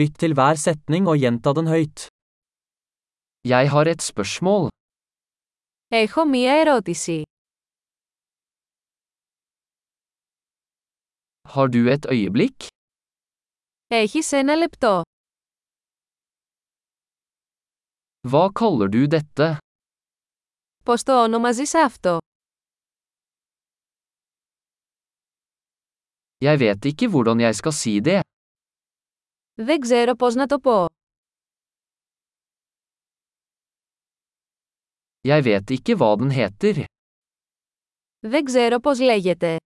Lytt til hver setning og gjenta den høyt. Jeg har et spørsmål. Έχω μία ερώτηση. Har du et øyeblikk? Έχεις ένα λεπτό. Hva kaller du dette? Πώς το ονομαζείς αυτό? Jeg vet ikke hvordan jeg skal si det. Δεν ξέρω πώς να το πω. Jeg vet ikke hva den heter. Δεν ξέρω πώς λέγεται.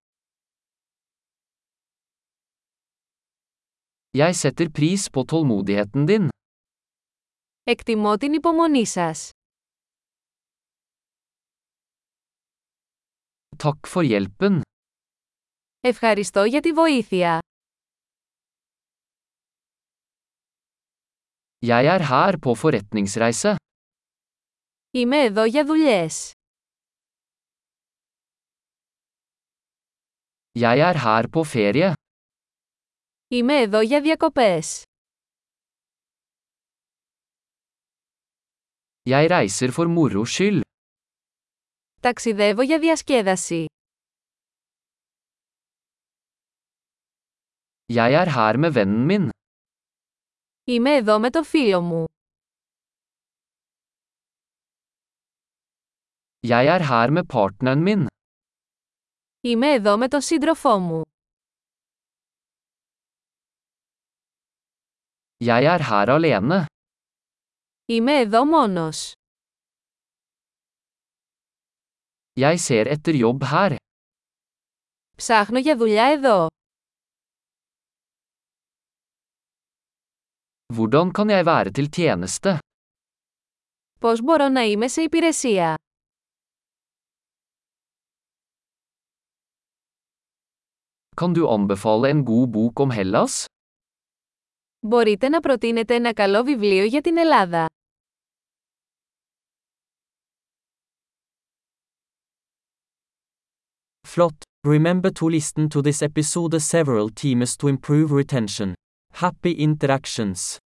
Jeg setter pris på tålmodigheten din. Εκτιμώ την υπομονή σας. Takk for hjelpen. Ευχαριστώ για τη βοήθεια. Jeg er her på forretningsreise. Είμαι εδώ για δουλειές. Jeg er her på ferie. Είμαι εδώ για διακοπές. Jeg reiser for moro skyld. Ταξιδεύω για διασκέδαση. Jeg er her med vennen min. Είμαι εδώ με το φίλο μου. Jeg er her med partneren min. Είμαι εδώ με τον σύντροφό μου. Jeg er her alene. Είμαι εδώ μόνος. Jeg ser etter jobb her. Ψάχνω για δουλειά εδώ. Hvordan kan jeg være til tjeneste? Πώς μπορώ να είμαι σε υπηρεσία. Kan du anbefale en god bok om Hellas? Μπορείτε να προτείνετε ένα καλό βιβλίο για την Ελλάδα. Flott! Remember to listen to this episode several times to improve retention. Happy interactions!